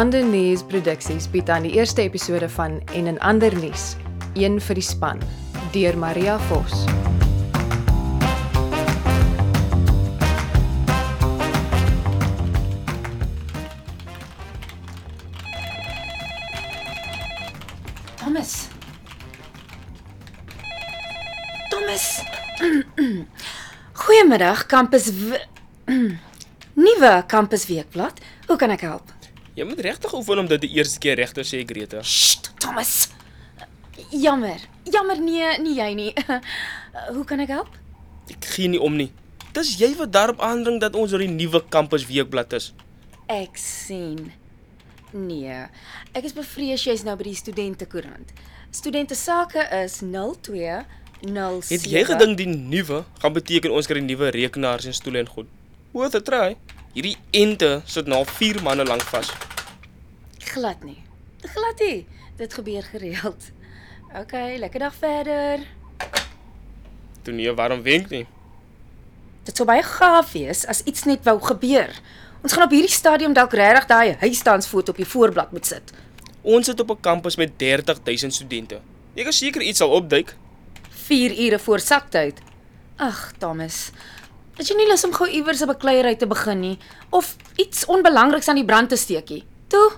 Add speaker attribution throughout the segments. Speaker 1: Andernuus Produksies bied aan die eerste episode van En in ander nuus, een vir die span, deur Maria Vos.
Speaker 2: Thomas. Thomas. Goeiemiddag, kampus w- Nuwe kampus weekblad. Hoe kan ek help?
Speaker 3: Jy moet regtig oefen om dit die eerste keer reg te sê, Grete.
Speaker 2: Sst, Thomas. Jammer. Jammer nee, nie jy nie. Hoe kan ek help?
Speaker 3: Ek gee nie om nie. Dis jy wat daarop aandring dat ons oor die nuwe kampus weekblad is.
Speaker 2: Ek sien. Nee. Ek is bevrees jy's nou by die studentekoerant. Studente sake is 02 07
Speaker 3: Het jy gedink die nuwe gaan beteken ons kry nuwe rekenaars en stoele en goed? Worth a try. Hierdie ente sit nou al 4 maande lank vas.
Speaker 2: Glad nie. Glad nie. Dit gebeur gereeld. OK, lekker dag verder.
Speaker 3: Toe nee, waarom wenk nie?
Speaker 2: Dit sou baie gaaf wees as iets net wou gebeur. Ons gaan op hierdie stadium dalk regtig daai huisstansfoto op die voorblad moet sit.
Speaker 3: Ons sit op 'n kampus met 30000 studente. Ek is seker iets sal opduik.
Speaker 2: 4 ure voor saktyd. Ag, Thomas. Is jy nie lus om gou iewers 'n bekleierery te begin nie of iets onbelangriks aan die brand te steekie? Toe,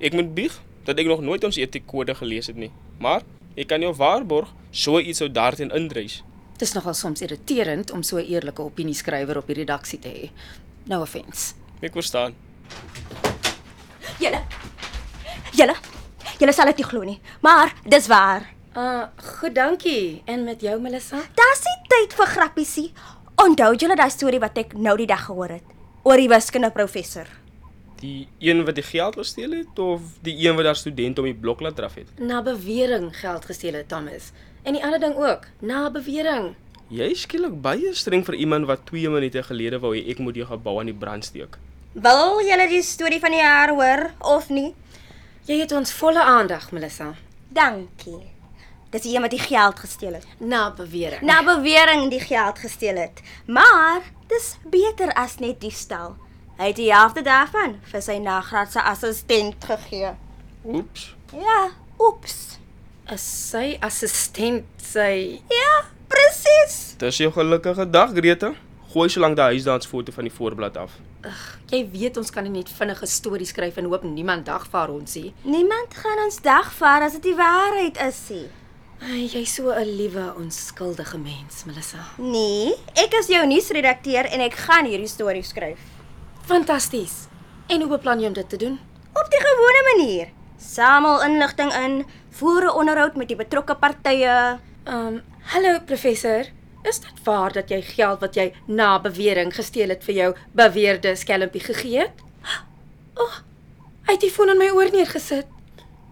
Speaker 3: Ek moet bieg dat ek nog nooit ons etiekkode gelees het nie. Maar ek kan jou waarborg, so iets sou daarteen indrys.
Speaker 2: dis nogal soms irriterend om so 'n eerlike opinieskrywer op die redaksie te hê. No offense.
Speaker 3: Ek verstaan.
Speaker 4: Julle. Julle. Julle sal dit nie glo nie, maar dis waar.
Speaker 2: Uh, goed, dankie. En met jou, Melissa?
Speaker 4: Daar's nie tyd vir grappiesie. Onthou julle daai storie wat ek nou die dag gehoor het oor die wiskundige professor?
Speaker 3: Die een wat die geld gesteel het of die een wat daar studente om die blok laat draf het?
Speaker 2: Na bewering geld gesteel het Thomas. En die ander ding ook, na bewering.
Speaker 3: Jy is skielik baie streng vir iemand wat 2 minute gelede wou hê ek moet jou gebou aan die brand steek.
Speaker 4: Wil julle die storie van die jaar hoor of nie?
Speaker 2: Jy het ons volle aandag, Melissa.
Speaker 4: Dankie. Dis die een wat die geld gesteel het.
Speaker 2: Na bewering.
Speaker 4: Na bewering die geld gesteel het. Maar dis beter as net diefstal. Hy het die helfte daarvan vir sy nagraadse assistent gegee.
Speaker 3: Oeps.
Speaker 4: Ja, oeps.
Speaker 2: is sy assistent sy
Speaker 4: Ja, presies.
Speaker 3: Dis jou gelukkige dag, Grete. Gooi so lank daai huisdansfoto van die voorblad af.
Speaker 2: Jy weet ons kan nie net vinnige stories skryf en hoop niemand dagvaar ons nie.
Speaker 4: Niemand gaan ons dagvaar as dit die waarheid is nie.
Speaker 2: Ai, Jy's so 'n liewe, onskuldige mens, Melissa.
Speaker 4: Nee, ek is jou nuusredakteur en ek gaan hierdie storie skryf.
Speaker 2: Fantasties. En hoe beplan jy om dit te doen?
Speaker 4: Op die gewone manier. Samel inligting in, voer 'n onderhoud met die betrokke partye.
Speaker 2: Ehm, um, hallo professor. Is dit waar dat jy geld wat jy na bewering gesteel het vir jou beweerde skelmpie gegee het? O, oh, hy het die foon in my oor neergesit.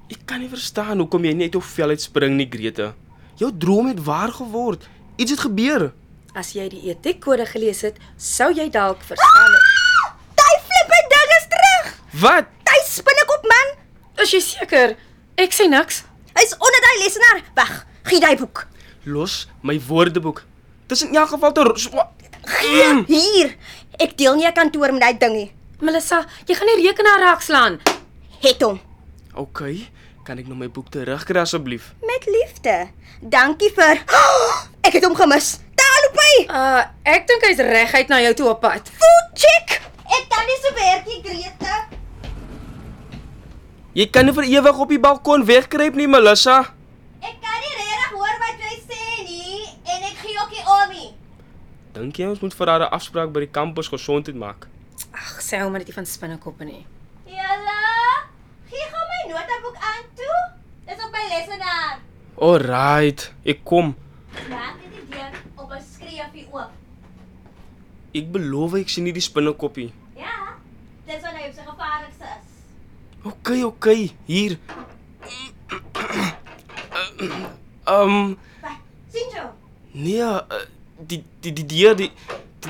Speaker 3: Ek kan nie verstaan hoekom jy net jou vel uitspring nie, Grete. Jou droom het waar geword. Iets het gebeur.
Speaker 2: As jy die etiekkode gelees het, sou jy dalk verstaan het.
Speaker 4: Daai flippe ding is terug.
Speaker 3: Wat?
Speaker 4: Daai spinnekop man,
Speaker 2: Is jy seker? Ek sê niks.
Speaker 4: hy's onder daai lesenaar. Weg, gee daai boek.
Speaker 3: Los my woordeboek. Dis in elk geval te ro- swa-
Speaker 4: Gee hier. Ek deel nie 'n kantoor met daai ding nie.
Speaker 2: Melissa, jy gaan die rekenaar raakslaan.
Speaker 4: Het hom
Speaker 3: OK, kan ek nou my boek terugkry asseblief?
Speaker 4: met liefde. Dankie vir Ek het hom gemis. Daar loop hy.
Speaker 2: Uh, ek dink hy's reguit na jou toe op pad.
Speaker 4: Food check. Ek kan nie so werk nie, Grete.
Speaker 3: Jy kan nie vir ewig op die balkon wegkruip nie, Melissa.
Speaker 4: Ek kan nie regtig hoor wat jy sê nie en ek gee ook nie om nie.
Speaker 3: Dink jy ons moet vir haar 'n afspraak by die kampus gesondheid maak?
Speaker 2: Ag, sê hom maar net nie van spinnekoppe nie.
Speaker 4: Julle, gee gou my notaboek aan toe. Dis op my lesenaar.
Speaker 3: Alraight, ek kom.
Speaker 4: Maak dit die deur op 'n skreefie oop.
Speaker 3: Ek beloof ek sien nie die spinnekoppie.
Speaker 4: Ja, dis wat hy op sy gevaarlikste is.
Speaker 3: OK, OK, hier. Ehm, um,
Speaker 4: Wat? Sien jy?
Speaker 3: nee, eh, die die die deur die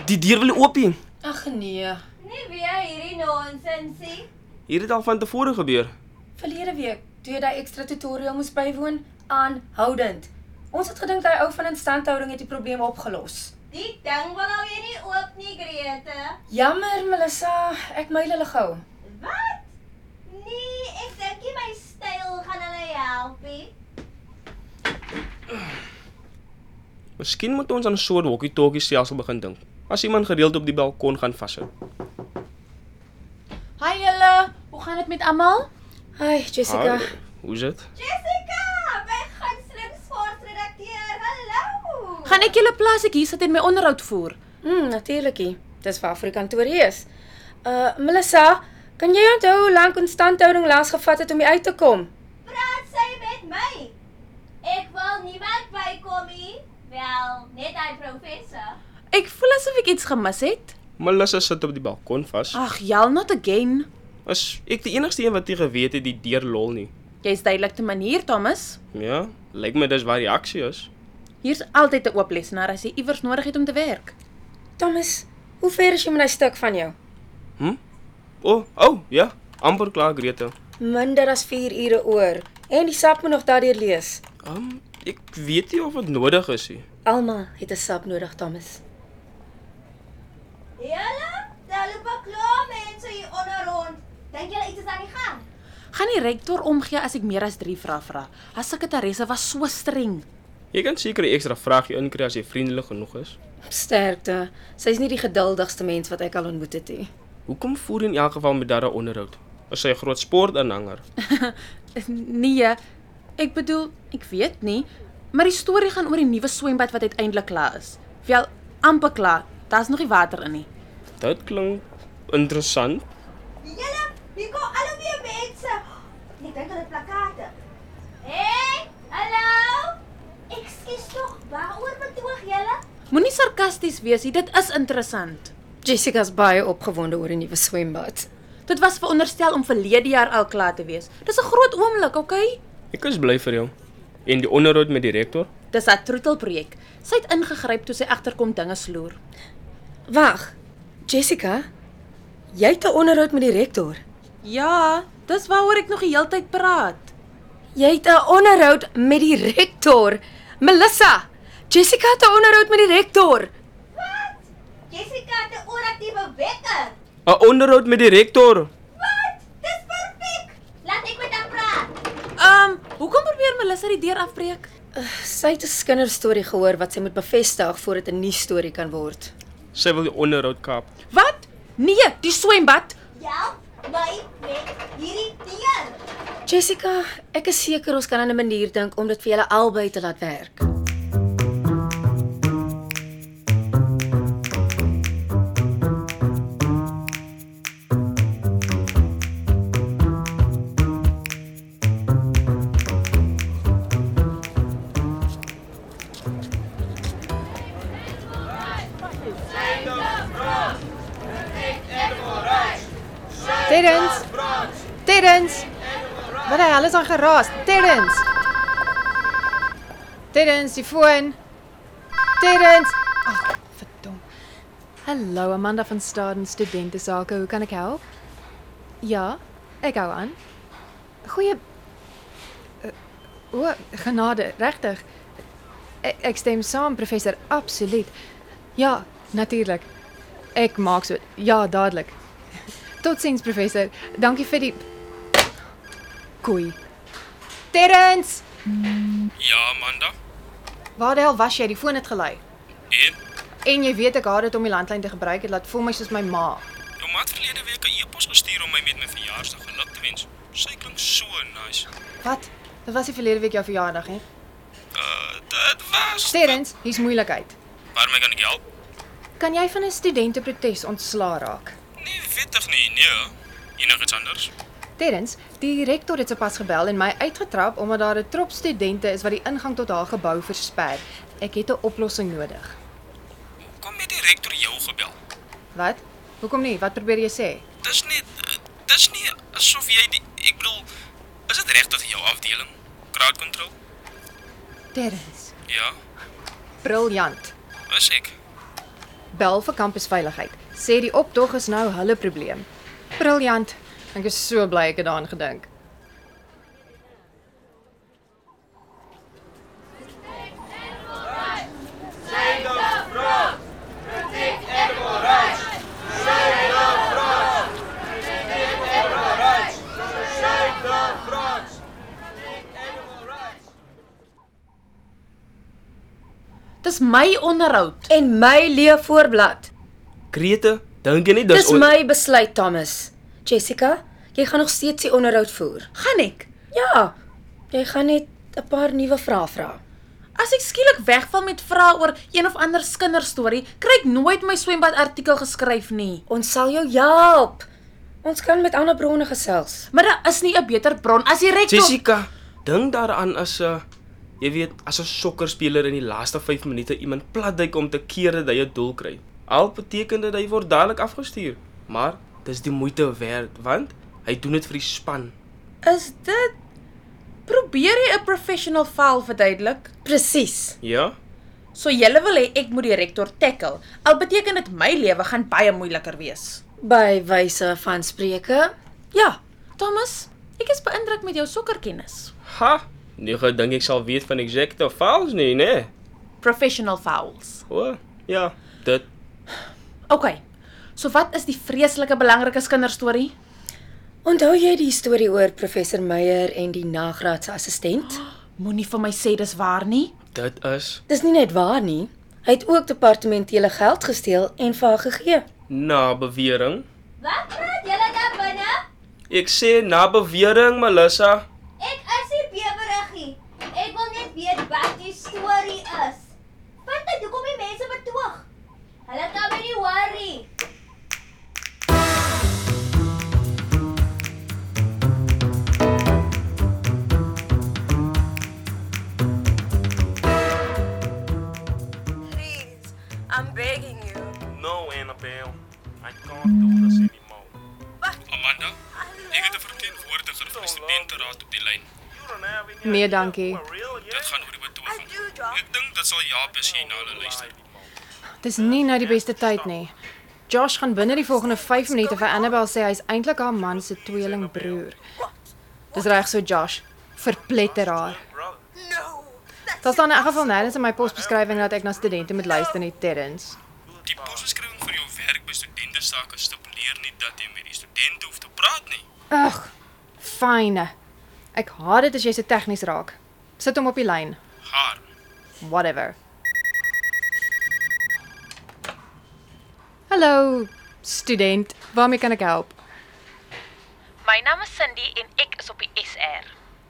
Speaker 3: die deur wil oop nie.
Speaker 2: Ag nee.
Speaker 4: Nie weer hierdie nonsensie.
Speaker 3: Hier het al van tevore gebeur.
Speaker 2: Verlede week toe jy daai ekstra tutorial moes bywoon, aanhoudend. Ons het gedink daai ou van instandhouding het die probleem opgelos.
Speaker 4: Die ding wil nou weer nie oop nie, Grete.
Speaker 2: Jammer, Melissa, ek myl hulle gou.
Speaker 4: Wat? Nee,
Speaker 5: helpie?
Speaker 3: Miskien moet ons aan 'n soort walkie-talkie stelsel begin dink. As iemand gereeld op die balkon gaan vashou.
Speaker 6: Hi julle, hoe gaan dit met almal?
Speaker 2: Ai, Jessica.
Speaker 3: Hi, Hoe's dit?
Speaker 5: Jessica, my gunsteling sportredakteur. Hallo.
Speaker 6: Gaan ek julle plas ek hier sit en my onderhoud voer?
Speaker 2: Hm, natuurlikie. Dis waar vir die kantoor hier is. Uh Melissa, kan jy onthou hoe lank instandhouding laas gevat het om hier uit te kom?
Speaker 5: praat sy met my? Ek wil niemand bykom nie. Wel, net hy professor.
Speaker 6: Ek voel asof ek iets gemis het.
Speaker 3: Melissa sit op die balkon vas.
Speaker 6: Ag, jal not again.
Speaker 3: Is ek die enigste een wat nie geweet het die deur lol nie?
Speaker 6: Jy's duidelik te manier, Thomas.
Speaker 3: Ja, lyk my dis waar die aksie is.
Speaker 6: Hier's altyd 'n oop lesenaar as jy iewers nodig het om te werk.
Speaker 2: Thomas, hoe ver is jy met daai stuk van jou?
Speaker 3: Hm? O, oh, o, oh, ja, amper klaar Grete.
Speaker 2: Minder as 4 ure oor en die sap moet nog daardeur lees.
Speaker 3: Ehm, um, ek weet nie of dit nodig is nie.
Speaker 2: Almal het 'n sap nodig, Thomas.
Speaker 5: Julle, daar loop 'n klomp mense hier onder rond. Dink julle iets is aan die gang?
Speaker 6: Gaan die rektor omgee as ek meer as 3 vrae vra? Haar sekretaresse was so streng.
Speaker 3: Jy kan seker 'n ekstra vragie inkry as jy vriendelik genoeg is.
Speaker 2: Sterkte. Sy's nie die geduldigste mens wat ek al ontmoet het nie.
Speaker 3: Hoekom voer jy in elk geval met daardie onderhoud? Is sy 'n groot sportaanhanger?
Speaker 6: nee, ek bedoel, ek weet nie, maar die storie gaan oor die nuwe swembad wat uiteindelik klaar is. Wel, amper klaar. Daar's nog nie water in nie.
Speaker 3: Dit klink interessant.
Speaker 5: Julle, hier kom alweer mense. Ek dink hulle het plakate. Hey, hallo. Ekskuus tog, waaroor betoog julle?
Speaker 6: Moenie sarkasties wees nie, dit is interessant.
Speaker 2: Jessica's baie opgewonde oor 'n nuwe swembad.
Speaker 6: Dit was veronderstel om verlede jaar al klaar te wees. Dis 'n groot oomblik, okay?
Speaker 3: Ek is bly vir jou. En die onderhoud met die rektor?
Speaker 6: Dis 'n troetelprojek. Sy het ingegryp toe sy agterkom dinge sloer.
Speaker 2: Wag. Jessica, jy het 'n onderhoud met die rektor.
Speaker 6: Ja, dis waaroor ek nog die hele tyd praat.
Speaker 2: Jy het 'n onderhoud met die rektor. Melissa, Jessica het 'n onderhoud met die rektor.
Speaker 5: Wat? Jessica het 'n oraktiewe wekker.
Speaker 3: 'n Onderhoud met die rektor.
Speaker 5: Wat? Dis perfek. Laat ek met haar praat.
Speaker 6: Ehm, um, hoekom probeer Melissa die deur afbreek?
Speaker 2: Sy het 'n kinderstorie gehoor wat sy moet bevestig voordat dit 'n nuus storie kan word.
Speaker 3: Sy wil die onderhoud kaap.
Speaker 6: Wat? Nee, die swembad.
Speaker 5: Help my met hierdie deur.
Speaker 2: Jessica, ek is seker ons kan aan 'n manier dink om dit vir julle albei te laat werk.
Speaker 1: Terrens. Terrens. Wat hy alles aan geraas. Terrens. Terrens, die foon. Terrens. Ag, verdom. Hallo Amanda van Staden Studente Sake. Hoe kan ek help? Ja, ek hou aan. Goeie Eh, O, genade, regtig. Ek, ek stem saam, professor, absoluut. Ja, natuurlik. Ek maak so. Ja, dadelik. Totsiens professor. Dankie vir die koei. Terrens,
Speaker 3: Ja, Amanda.
Speaker 1: waar die hel was jy? Die foon het gelei.
Speaker 3: En
Speaker 1: En jy weet ek haat dit om die landlyn te gebruik. Dit laat voel my soos my ma.
Speaker 3: jou maat verlede week 'n e-pos gestuur om my met my verjaarsdag geluk te wens. Sy klink so nice.
Speaker 1: Wat? Dit was die verlede week jou verjaardag, hè?
Speaker 3: Uh, dit was.
Speaker 1: Terrens, hier's moeilikheid.
Speaker 3: Waarmee kan ek help?
Speaker 1: Kan jy van 'n studente protes ontslaa raak?
Speaker 3: Nee, wettig nie. Nee. Enigiets anders?
Speaker 1: Terrens, die rektor het sopas gebel en my uitgetrap omdat daar 'n trop studente is wat die ingang tot haar gebou versper. Ek het 'n oplossing nodig.
Speaker 3: Kom met die rektor jou gebel.
Speaker 1: Wat? Hoekom nie? Wat probeer jy sê?
Speaker 3: Dis nie eh, dis nie asof jy die ek bedoel is dit regtig jou afdeling? Crowd control?
Speaker 1: Terrens,
Speaker 3: Ja,
Speaker 1: briljant.
Speaker 3: is ek.
Speaker 1: Bel vir kampusveiligheid. Sê die optog is nou hulle probleem. Briljant. Ek is so bly ek het daaraan gedink.
Speaker 6: Dis my onderhoud.
Speaker 2: En my leeu voorblad.
Speaker 3: Krete, dink jy nie dis
Speaker 2: Dis my besluit, Thomas. Jessica, jy gaan nog steeds die onderhoud voer.
Speaker 6: Gaan ek?
Speaker 2: Ja. Jy gaan net 'n paar nuwe vrae vra.
Speaker 6: As ek skielik wegval met vrae oor een of ander kinderstorie, kry ek nooit my swembad artikel geskryf nie.
Speaker 2: Ons sal jou help. Ons kan met ander bronne gesels.
Speaker 6: Maar daar is nie 'n beter bron as die rektor.
Speaker 3: Jessica, dink daaraan as 'n jy weet, as 'n sokkerspeler in die laaste 5 minute iemand platduik om te keer dat hy 'n doel kry. Al beteken dit hy word dadelik afgestuur, maar dis die moeite werd want hy doen dit vir die span.
Speaker 6: Is dit Probeer jy 'n professional foul verduidelik?
Speaker 2: Presies.
Speaker 3: Ja?
Speaker 6: So julle wil hê ek moet die rektor tackle. Al beteken dit my lewe gaan baie moeiliker wees.
Speaker 2: By wyse van spreuke. Ja.
Speaker 6: Thomas, ek is beïndruk met jou sokkerkennis.
Speaker 3: Ha. Nee, ek dink ek sal weet van exacte fouls nie, né?
Speaker 6: Professional fouls.
Speaker 3: O, ja, dit
Speaker 6: OK. So wat is die vreeslike belangrike kinderstorie?
Speaker 2: Onthou jy die storie oor professor Meyer en die nagraadse assistent?
Speaker 6: Moenie vir my sê dis waar nie.
Speaker 3: dit is
Speaker 2: Dis nie net waar nie. Hy het ook departementele geld gesteel en vir haar gegee.
Speaker 3: na bewering.
Speaker 5: Wat praat julle daar binne?
Speaker 3: Ek sê na bewering, Melissa.
Speaker 5: Ek is nie beweriggie. Ek wil net weet wat die storie is. Wat het hoekom die mense betoog? Hulle kan my nie worry.
Speaker 4: Please, I'm begging you.
Speaker 7: No, Annabelle. I can't do this anymore.
Speaker 3: Amanda,
Speaker 4: I
Speaker 3: ek het
Speaker 4: love
Speaker 3: 'n verteenwoordiger van die studenteraad op die lyn.
Speaker 7: you don't have any
Speaker 1: Nee,
Speaker 7: idea
Speaker 1: dankie.
Speaker 7: who I really
Speaker 3: Dit
Speaker 7: am.
Speaker 3: gaan oor die
Speaker 4: I
Speaker 3: betoging.
Speaker 4: do, Doc.
Speaker 3: Ek dink dit sal Jaap as jy na hulle luister.
Speaker 1: Dis nie nou die beste tyd nie. Josh gaan binne die volgende 5 minute vir Annabel sê hy's eintlik haar man se tweelingbroer. Dis reg so Josh. Verpletter haar.
Speaker 7: Brother.
Speaker 4: No. That's
Speaker 1: Daar staan in elk geval nêrens in my posbeskrywing dat ek na studente moet luister nie, Terrence.
Speaker 3: Die posbeskrywing vir jou werk by studente sake stipuleer nie dat jy met die student hoef te praat nie.
Speaker 1: Ag, fyne. Ek haat dit as jy so tegnies raak. Sit hom op die lyn.
Speaker 3: Haar.
Speaker 1: Whatever. Hallo, student. Waarmee kan ek help?
Speaker 8: My naam is Cindy en ek is op die SR.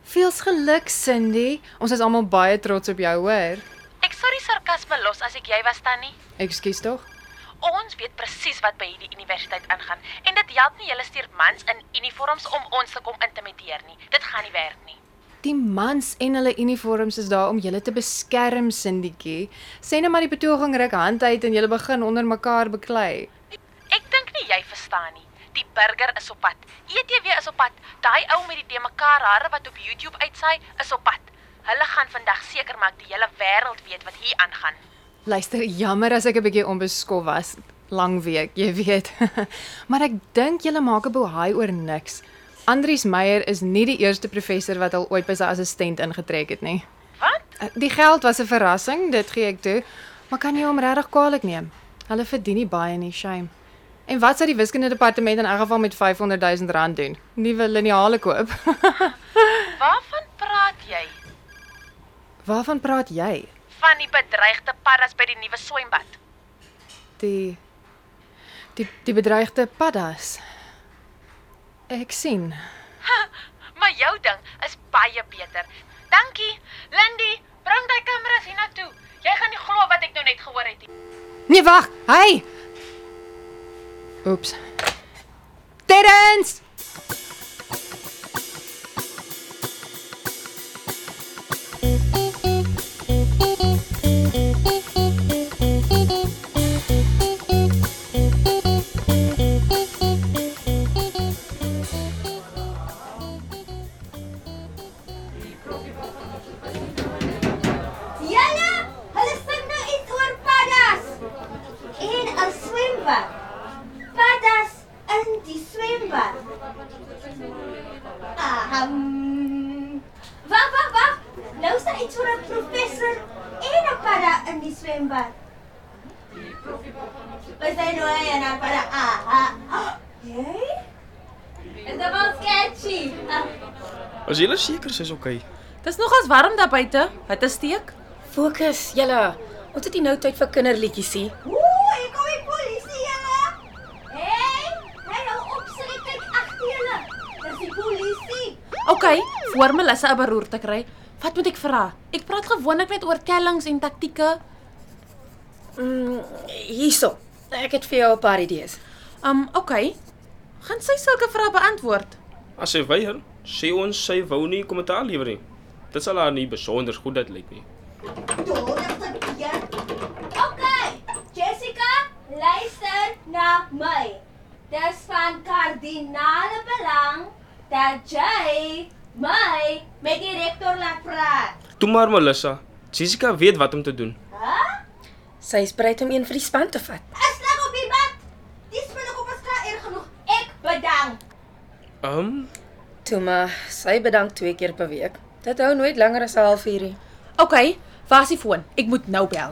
Speaker 1: Veels geluk, Cindy. Ons is almal baie trots op jou, hoor.
Speaker 8: Ek sou die sarkasme los as ek jy was tannie.
Speaker 1: Ekskuus tog.
Speaker 8: Ons weet presies wat by hierdie universiteit aangaan en dit help nie julle stuur mans in uniforms om ons te kom intimideer nie. Dit gaan nie werk nie.
Speaker 1: Die mans en hulle uniforms is daar om julle te beskerm, Cindytjie. Sê net maar die betoging ruk hand uit en julle begin onder mekaar beklei.
Speaker 8: Ek dink nie jy verstaan nie. Die burger is op pad. ETV is op pad. Daai ou met die de mekaar hare wat op YouTube uitsaai is op pad. Hulle gaan vandag seker maak die hele wêreld weet wat hier aangaan.
Speaker 1: Luister, jammer as ek 'n bietjie onbeskof was. Lang week, jy weet. maar ek dink julle maak 'n bohaai oor niks. Andries Meyer is nie die eerste professor wat al ooit by sy assistent ingetrek het nie.
Speaker 8: Wat?
Speaker 1: Eh, Die geld was 'n verrassing, dit gee ek toe, maar kan jy hom regtig kwaadlik neem? Hulle verdien nie baie nie, shame. En wat sou die wiskunde departement in elk geval met 500 000 rand doen? Nuwe liniale koop.
Speaker 8: Waarvan praat jy?
Speaker 1: Waarvan praat jy?
Speaker 8: Van die bedreigde paddas by die nuwe swembad.
Speaker 1: Die die die bedreigde paddas. Ek sien.
Speaker 8: Maar jou ding is baie beter. Dankie, Lindy. Bring daai kameras hiernatoe. Jy gaan nie glo wat ek nou net gehoor het nie.
Speaker 1: Nee, wag. Hey. Oeps. Terrens.
Speaker 5: Julle, hulle sing nou iets oor paddas. En 'n swembad. Paddas in die swembad. Ahem. Wag, wag, wag. Nou staan iets oor 'n professor en 'n padda in die swembad. Wat sê nou hy en 'n padda? Ah, ah. Hey? Is dit wel sketchy? Ah.
Speaker 3: As jy seker sy's okay.
Speaker 6: Dis nogals warm daar buite. Hitte steek.
Speaker 2: Fokus, julle. Ons het nie nou tyd vir kinderliedjies nie.
Speaker 5: Ooh, hier kom die polisie julle. Hey, hey, hou op sê kyk agter julle. Dis die polisie.
Speaker 6: OK, voor Melissa 'n beroerte te kry, wat moet ek vra? Ek praat gewoonlik net oor tellings en taktieke.
Speaker 2: Mm, hierso. Ek het vir jou 'n paar idees.
Speaker 6: Um OK. Gaan sy sulke vrae beantwoord?
Speaker 3: As sy weier, sê ons sy wou nie kommentaar lewer nie. Dit sal haar nie besonder goed dit lyk nie.
Speaker 5: Donderste keer. Okay, Jessica, luister na my. Dis van kardinale belang dat jy my met die rektor laat praat.
Speaker 3: Toe maar Melissa, Jessica weet wat om te doen.
Speaker 5: Hæ?
Speaker 2: Sy is bereid om een vir die span te vat.
Speaker 5: Is lag op die bad. Dis binne kom ons klaar erg genoeg. Ek bedank.
Speaker 3: Ehm, um,
Speaker 2: Toe maar, sy bedank twee keer per week. Dit hou nooit langer as 'n halfuur nie.
Speaker 6: OK, waar is die foon? Ek moet nou bel.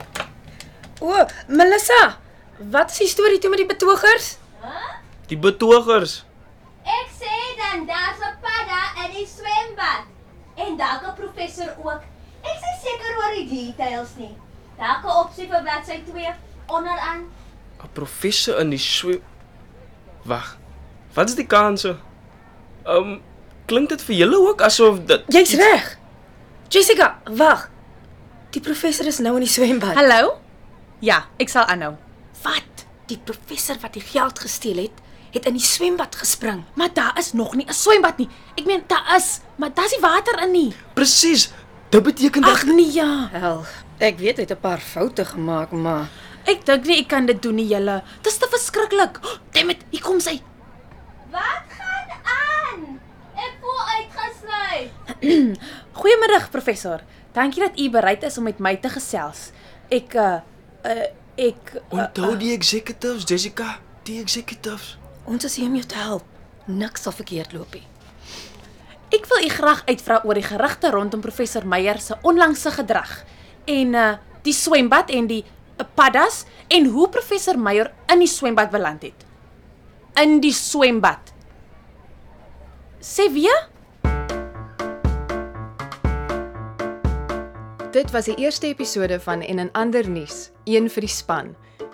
Speaker 2: O, Melissa, wat is die storie toe met die betogers?
Speaker 5: Hæ?
Speaker 3: die betogers.
Speaker 5: Ek sê dan daar's 'n padda in die swembad. En dalk 'n professor ook. Ek is nie seker oor die details nie. Dalk 'n opsie vir bladsy 2 onderaan.
Speaker 3: 'n Professor in die swem. Wag. Wat is die kanse? Ehm, um, klink dit vir julle ook asof dit
Speaker 2: Jy's reg. Jessica, wag. Die professor is nou in die swembad.
Speaker 6: Hallo? Ja, ek sal aanhou.
Speaker 2: Wat? Die professor wat die geld gesteel het, het in die swembad gespring.
Speaker 6: Maar daar is nog nie 'n swembad nie. Ek meen daar is, maar daar's nie water in nie.
Speaker 3: Presies. Dit beteken dat
Speaker 6: Ag nee ja.
Speaker 2: Wel, ek weet hy het 'n paar foute gemaak, maar
Speaker 6: Ek dink nie ek kan dit doen nie, julle. Dis te verskriklik. Oh, damn it, hier kom sy.
Speaker 5: Wat gaan aan? Ek voel uitgesluit.
Speaker 6: Goeiemiddag professor. Dankie dat u bereid is om met my te gesels. Ek uh, uh ek
Speaker 3: onthou die executives, Jessica, die executives.
Speaker 2: ons is hier om jou te help. Niks sal verkeerd loop nie.
Speaker 6: ek wil u graag uitvra oor die gerugte rondom professor Meyer se onlangse gedrag en uh die swembad en die uh, paddas en hoe professor Meyer in die swembad beland het. In die swembad. Sê weer?
Speaker 1: Dit was die eerste episode van En 'n ander nuus, een vir die span.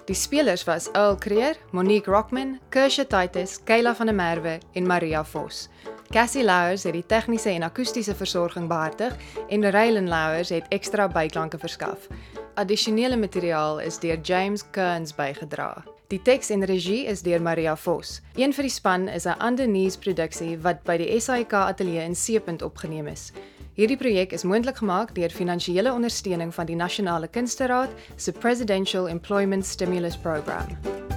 Speaker 1: Die spelers was Earl Creer, Monique Rockman, Kersha Titus, Kayla van der Merwe en Maria Vos. Cassie Louws het die tegniese en akoestiese versorging behartig en Reilen Louws het ekstra byklanke verskaf. Addisionele materiaal is deur James Kearns bygedra. Die teks en regie is deur Maria Vos. Een vir die span is 'n ander nuus produksie wat by die SAIK ateljee in Seepunt opgeneem is. Hierdie projek is moontlik gemaak deur finansiële ondersteuning van die Nasionale Kunsteraad se Presidential Employment Stimulus Program.